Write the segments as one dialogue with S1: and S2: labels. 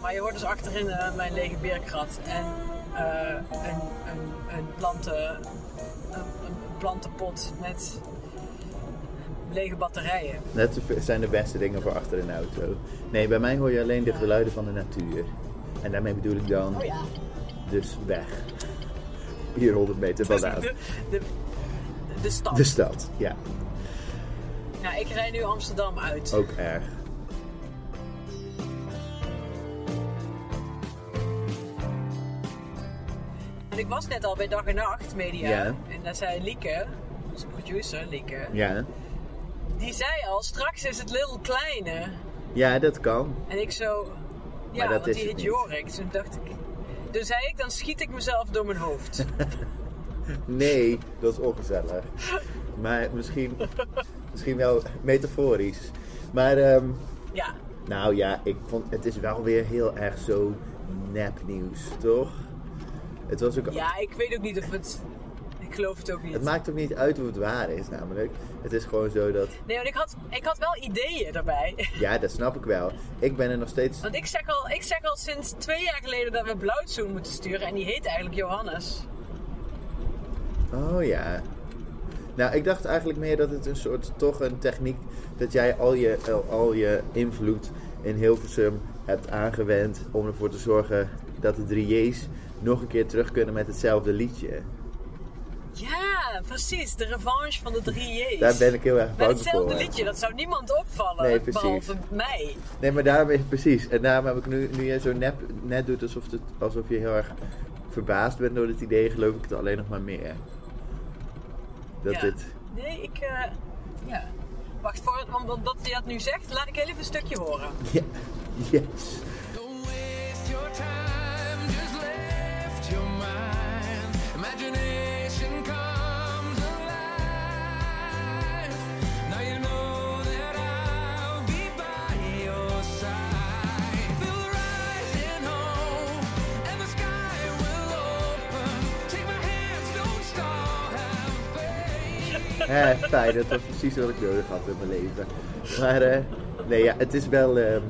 S1: maar je hoort dus achterin eh, mijn lege beerkrat en eh, een, een, een, planten, een, een plantenpot met lege batterijen.
S2: Dat zijn de beste dingen voor achter een auto. Nee, bij mij hoor je alleen de geluiden van de natuur. En daarmee bedoel ik dan
S1: Oh ja.
S2: dus weg. Hier 100 meter
S1: Dus
S2: vandaan.
S1: de, de, de stad.
S2: De stad, ja.
S1: Nou, ik rijd nu Amsterdam uit.
S2: Ook erg.
S1: En ik was net al bij Dag en Nacht Media.
S2: Ja.
S1: En daar zei Lieke, onze producer Lieke,
S2: Ja.
S1: die zei al, straks is het Little Kleine.
S2: ja, dat kan.
S1: En ik zo, ja,
S2: dat
S1: want
S2: is
S1: die
S2: het
S1: heet
S2: niet.
S1: Jorik. Toen dacht ik, toen zei ik, dan schiet ik mezelf door mijn hoofd.
S2: Nee, dat is ongezellig. Maar misschien, misschien wel metaforisch. Maar, ehm,
S1: ja,
S2: nou ja, ik vond, het is wel weer heel erg zo nepnieuws, toch? Het was ook
S1: ja, ik weet ook niet of het, ik geloof het ook niet.
S2: Het maakt ook niet uit hoe het waar is, namelijk. Het is gewoon zo dat.
S1: Nee, want ik had, ik had wel ideeën daarbij.
S2: Ja, dat snap ik wel. Ik ben er nog steeds.
S1: Want ik zeg, al, ik zeg al sinds twee jaar geleden dat we Blauwtsoen moeten sturen. En die heet eigenlijk Johannes.
S2: Oh ja. Nou, ik dacht eigenlijk meer dat het een soort. toch een techniek. dat jij al je, al, al je invloed in Hilversum hebt aangewend. om ervoor te zorgen dat de drie J's nog een keer terug kunnen met hetzelfde liedje.
S1: Ja, precies. De revanche van de drie J's.
S2: Daar ben ik heel erg
S1: Met
S2: bang voor.
S1: hetzelfde liedje, dat zou niemand opvallen,
S2: Nee, precies.
S1: behalve mij.
S2: Nee, maar daarom is precies. En daarom heb ik nu, nu jij zo nep, net doet alsof, het, alsof je heel erg verbaasd bent door dit idee, geloof ik het alleen nog maar meer. Dat
S1: Ja.
S2: dit.
S1: Nee, ik... eh, ja. Wacht, voor, want want dat hij dat nu zegt, laat ik heel even een stukje horen.
S2: Ja, yes.
S3: Don't waste your time, just lift your mind. Imagination comes alive. Now you know that I'll be by your side. Feel the rising hope, and the sky will open. Take my hands, don't stall, have faith.
S2: Eh, fijn, dat was precies wat ik nodig had in mijn leven. Maar eh, nee, ja, het is wel. ehm,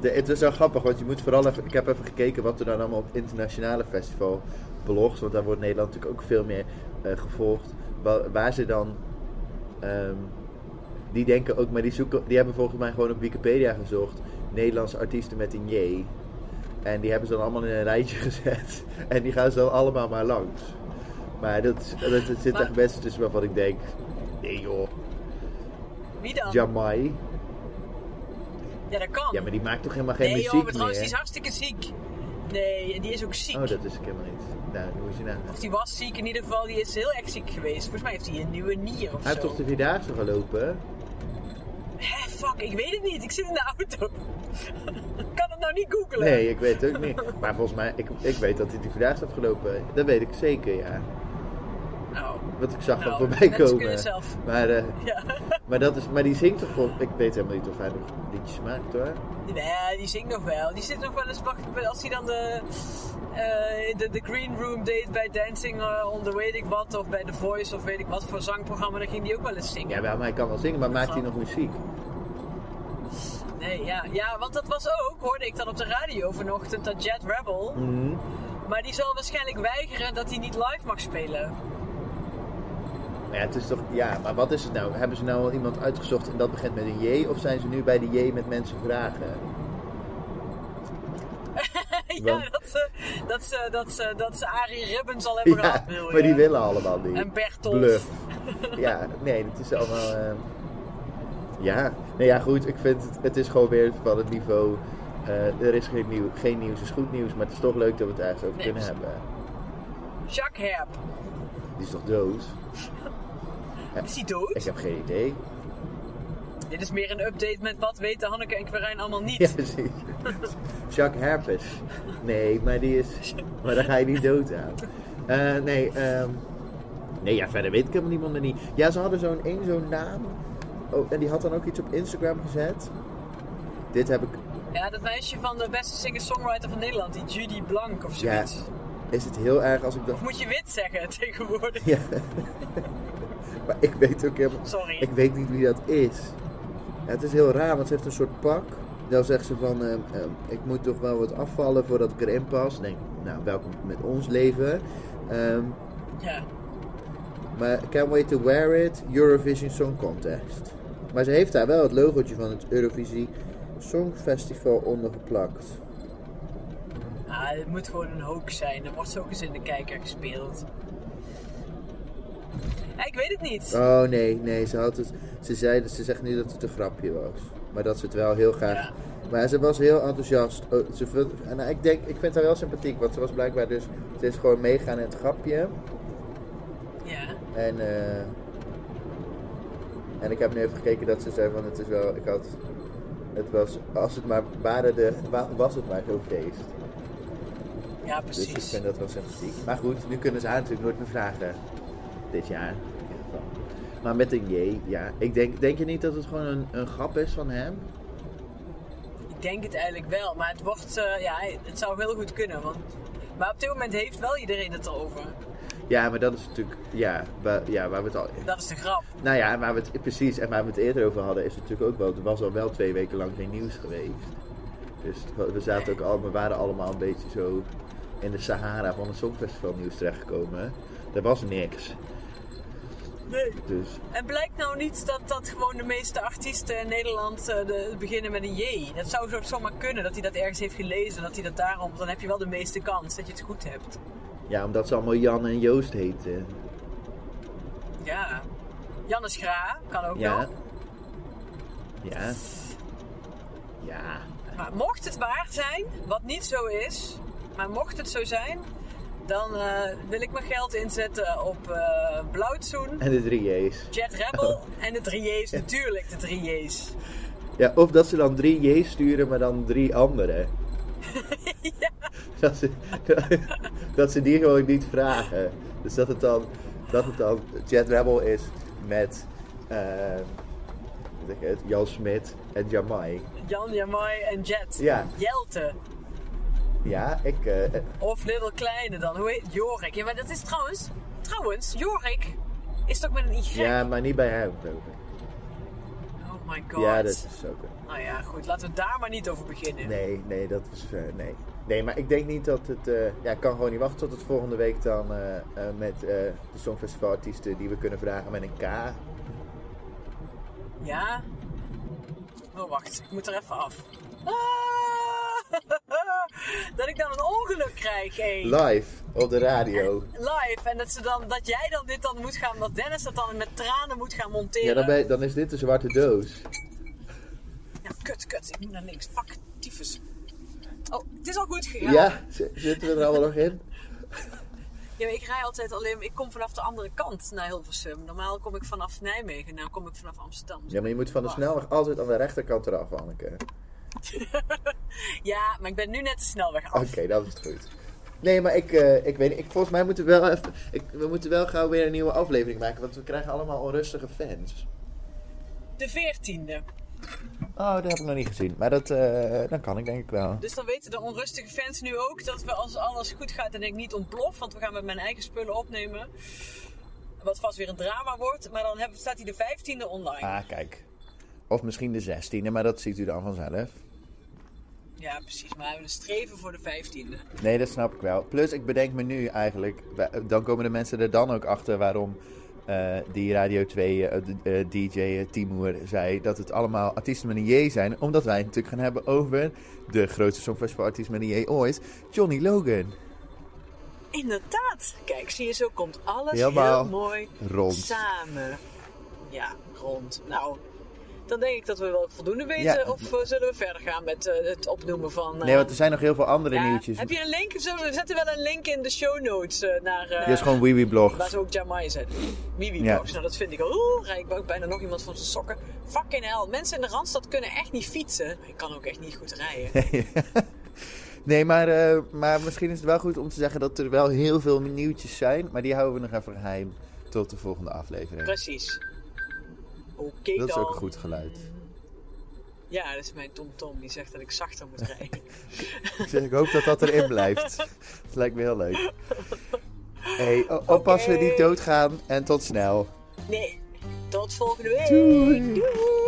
S2: de, het is wel grappig, want je moet vooral even. Ik heb even gekeken wat er dan allemaal op internationale festival blogs, want daar wordt Nederland natuurlijk ook veel meer eh, gevolgd. Waar, waar ze dan. ehm, die denken ook, maar die, zoeken, die hebben volgens mij gewoon op Wikipedia gezocht. Nederlandse artiesten met een J. En die hebben ze dan allemaal in een rijtje gezet. En die gaan ze dan allemaal maar langs. Maar dat, is- dat, dat zit
S1: Maar-
S2: echt best tussen waarvan ik denk... Nee joh,
S1: Wie dan? Ja,
S2: Jamai.
S1: dat kan.
S2: Ja, maar die maakt toch helemaal geen
S1: nee,
S2: muziek
S1: joh, maar trouwens,
S2: meer?
S1: die is hartstikke ziek. Nee, die is ook ziek.
S2: Oh, dat is ik helemaal niet. Nou, hoe is hij nou?
S1: Of die was ziek in ieder geval, die is heel erg ziek geweest. Volgens mij heeft hij een nieuwe nier of
S2: Hij heeft
S1: zo.
S2: toch de Vierdaagse gelopen?
S1: Hé, fuck, ik weet het niet. Ik zit in de auto. Ik kan het nou niet googlen.
S2: Nee, ik weet het ook niet. Maar volgens mij, ik, ik weet dat hij de Vierdaagse heeft gelopen. Dat weet ik zeker, ja.
S1: Nou,
S2: Want ik zag hem
S1: Nou,
S2: voorbij
S1: mensen
S2: komen.
S1: kunnen zelf.
S2: Maar, eh,
S1: ja.
S2: maar, dat is, maar die zingt toch volgens Ik weet helemaal niet of hij nog liedjes maakt hoor.
S1: Nee, die zingt nog wel. Die zit nog wel eens wacht, als hij dan de, eh, de, de Green Room deed bij Dancing eh, on the weet ik wat, of bij The Voice of weet ik wat voor zangprogramma, dan ging die ook wel eens zingen.
S2: Ja, wel, maar hij kan wel zingen, maar maakt hij nog muziek?
S1: Nee, ja. ja, want dat was ook, hoorde ik dan op de radio vanochtend, dat Jet Rebel.
S2: Mhm.
S1: Maar die zal waarschijnlijk weigeren dat hij niet live mag spelen.
S2: Ja, het is toch, ja, maar wat is het nou? Hebben ze nou al iemand uitgezocht en dat begint met een J? Of zijn ze nu bij de J met mensen vragen?
S1: ja,
S2: Want-
S1: dat ze, dat, ze, dat, ze, dat ze Arie Ribbons al hebben
S2: ja,
S1: gehad, wil je?
S2: maar die willen allemaal niet.
S1: En Bertolf.
S2: Bluff. Ja, nee, het is allemaal... eh, ja, nee, ja, goed, ik vind het, het is gewoon weer van het niveau... eh, er is geen, nieuw, geen nieuws, is goed nieuws, maar het is toch leuk dat we het ergens over
S1: Nee,
S2: kunnen
S1: precies.
S2: hebben.
S1: Jacques Herp.
S2: Die is toch dood?
S1: Is hij dood?
S2: Ik heb geen idee.
S1: Dit is meer een update met wat weten Hanneke en Quirijn allemaal niet.
S2: Ja, precies. Chuck Herpes. Nee, maar die is. Maar daar ga je niet dood aan. Eh, nee, ehm, nee, ja, verder weet ik helemaal niemand er niet. Ja, ze hadden zo'n één zo'n naam. Oh, en die had dan ook iets op Instagram gezet. Dit heb ik.
S1: Ja, dat meisje van de beste singer-songwriter van Nederland, die Judy Blank of
S2: Ja,
S1: zoiets.
S2: is het heel erg als ik dat.
S1: Of moet je wit zeggen tegenwoordig?
S2: Ja. maar ik weet ook helemaal.
S1: Sorry.
S2: Ik weet niet wie dat is. Ja, het is heel raar, want ze heeft een soort pak. Dan zegt ze van, ehm, ehm, ik moet toch wel wat afvallen voordat ik erin pas. Dan denk ik, nou, welkom met ons leven. Ehm,
S1: Ja.
S2: maar can't wait to wear it, Eurovision Song Contest. Maar ze heeft daar wel het logootje van het Eurovisie Songfestival onder geplakt.
S1: Ah, het moet gewoon een hoax zijn. Er wordt zo ook eens in de kijker gespeeld. Ja, ik weet het niet.
S2: Oh nee, nee, ze, had het, ze, zei, ze zegt nu dat het een grapje was. Maar dat ze het wel heel graag.
S1: Ja.
S2: Maar ze was heel enthousiast. Oh, ze vond- en nou, ik, denk, ik vind haar wel sympathiek, want ze was blijkbaar dus. Ze is gewoon meegaan in het grapje.
S1: Ja.
S2: En, eh, en ik heb nu even gekeken dat ze zei van het is wel. Ik had. Het was. Als het maar. Waren de, wa- was het maar zo'n feest.
S1: ja,
S2: Dus ik
S1: precies.
S2: vind dat wel sympathiek. Maar goed, nu kunnen ze haar natuurlijk nooit meer vragen. Dit jaar. in ieder geval. Maar met een J, ja. Ik denk, denk je niet dat het gewoon een, een grap is van hem?
S1: Ik denk het eigenlijk wel, maar het wordt, eh, ja, het zou heel goed kunnen. Want, maar op dit moment heeft wel iedereen het erover.
S2: Ja, maar dat is natuurlijk. Ja, wa- ja waar we het al.
S1: Dat is de grap.
S2: Nou ja, en waar we het, precies. En waar we het eerder over hadden, is natuurlijk ook wel. Er was al wel twee weken lang geen nieuws geweest. Dus we- we zaten ook al. We waren allemaal een beetje zo. in de Sahara van het Songfestival nieuws terechtgekomen. Er was niks.
S1: Nee.
S2: Dus
S1: En blijkt nou niet dat, dat gewoon de meeste artiesten in Nederland eh, de, beginnen met een J. Dat zou zo- zomaar kunnen, dat hij dat ergens heeft gelezen. Dat hij dat daarom, dan heb je wel de meeste kans dat je het goed hebt.
S2: ja, omdat ze allemaal Jan en Joost heten.
S1: Ja. Jannes Gra kan ook
S2: Ja.
S1: nog.
S2: Ja. Ja.
S1: Maar mocht het waar zijn, wat niet zo is, maar mocht het zo zijn, dan eh, wil ik mijn geld inzetten op eh Blauwtsoen,
S2: En de drie J's.
S1: Jet Rebel en de 3J's. Natuurlijk de 3J's.
S2: Ja, of dat ze dan drie J's sturen, maar dan drie anderen. dat, ze, dat ze die gewoon niet vragen. Dus dat het dan, dat het dan Jet Rebel is met eh, wat zeg je het, Jan Smit en Jamai.
S1: Jan, Jamai en Jet.
S2: Ja.
S1: Jelte.
S2: Ja, ik. eh,
S1: Of Little Kleine dan. Hoe heet Jorik? Ja, maar dat is trouwens... Trouwens, Jorik is toch met een Y?
S2: ja, maar niet bij hem. geloof ik.
S1: Oh my god.
S2: Ja, dat is ook. een-
S1: Nou ja, goed. Laten we daar maar niet over beginnen.
S2: Nee, nee, dat is. eh, nee. nee, maar ik denk niet dat het. eh, ja, ik kan gewoon niet wachten tot het volgende week dan eh, eh, met eh, de Songfestivalartiesten die we kunnen vragen met een K.
S1: Ja? Oh, wacht. Ik moet er even af. Ah, dat ik dan een ongeluk krijg, hé.
S2: Live op de radio.
S1: Live. En dat, ze dan, dat jij dan dit dan moet gaan... Dat Dennis dat dan met tranen moet gaan monteren.
S2: Ja, dan, ben, dan is dit de zwarte doos.
S1: Ja, kut, kut. Ik moet naar links. Fuck, tyfus. Oh, het is al goed
S2: Ja,
S1: gegaan.
S2: z- zitten we er allemaal nog in?
S1: Ja, maar ik rij altijd alleen... Ik kom vanaf de andere kant naar Hilversum. Normaal kom ik vanaf Nijmegen. Nou kom ik vanaf Amsterdam.
S2: Ja, maar je moet van de snelweg altijd aan de rechterkant eraf, Anneke.
S1: Ja, maar ik ben nu net de snelweg af.
S2: Oké, dat is het goed. Nee, maar ik, eh, ik weet niet. Ik, volgens mij moeten we wel even. Ik, we moeten wel gauw weer een nieuwe aflevering maken, want we krijgen allemaal onrustige fans.
S1: De veertiende.
S2: Oh, dat heb ik nog niet gezien. Maar dat, eh, dan kan ik denk ik wel.
S1: Dus dan weten de onrustige fans nu ook dat we als alles goed gaat en ik niet ontplof. Want we gaan met mijn eigen spullen opnemen. Wat vast weer een drama wordt. Maar dan hebben, staat hij de vijftiende online.
S2: Ah, kijk. Of misschien de 16e, maar dat ziet u dan vanzelf.
S1: Ja, precies. Maar we streven voor de vijftiende.
S2: Nee, dat snap ik wel. Plus, ik bedenk me nu eigenlijk, wa- dan komen de mensen er dan ook achter waarom eh, die Radio 2 eh, d- eh, DJ eh, Timur zei dat het allemaal artiesten met een J zijn. Omdat wij het natuurlijk gaan hebben over de grootste songfestivalartiest met een J ooit, Johnny Logan.
S1: Inderdaad. Kijk, zie je, zo komt alles
S2: Helemaal
S1: heel mooi
S2: rond.
S1: samen. Ja, rond. Nou, dan denk ik dat we wel voldoende weten.
S2: Ja.
S1: Of eh, zullen we verder gaan met eh, het opnoemen van... eh,
S2: Nee, want er zijn nog heel veel andere
S1: ja,
S2: nieuwtjes.
S1: Heb je een link? Zullen we we zetten wel een link in de show notes eh, naar... eh,
S2: Dit is gewoon Wiwi
S1: Waar
S2: Blogs.
S1: ze ook Jamai zetten. Wiwi
S2: Ja.
S1: Nou, dat vind ik... Oeh, rijd ik ook bijna nog iemand van zijn sokken. Fucking hell. Mensen in de Randstad kunnen echt niet fietsen. Ik kan ook echt niet goed rijden.
S2: Nee, maar, eh, maar misschien is het wel goed om te zeggen dat er wel heel veel nieuwtjes zijn. Maar die houden we nog even geheim tot de volgende aflevering.
S1: Precies. Oké dan.
S2: Dat is ook een goed geluid.
S1: Ja, dat is mijn tomtom. Die zegt dat ik zachter moet rijden.
S2: Ik zeg, ik hoop dat dat erin blijft. Het lijkt me heel leuk. Hey, o- oppassen,
S1: Oké.
S2: niet doodgaan en tot snel.
S1: Nee, tot volgende week.
S2: Doei.
S1: Doei.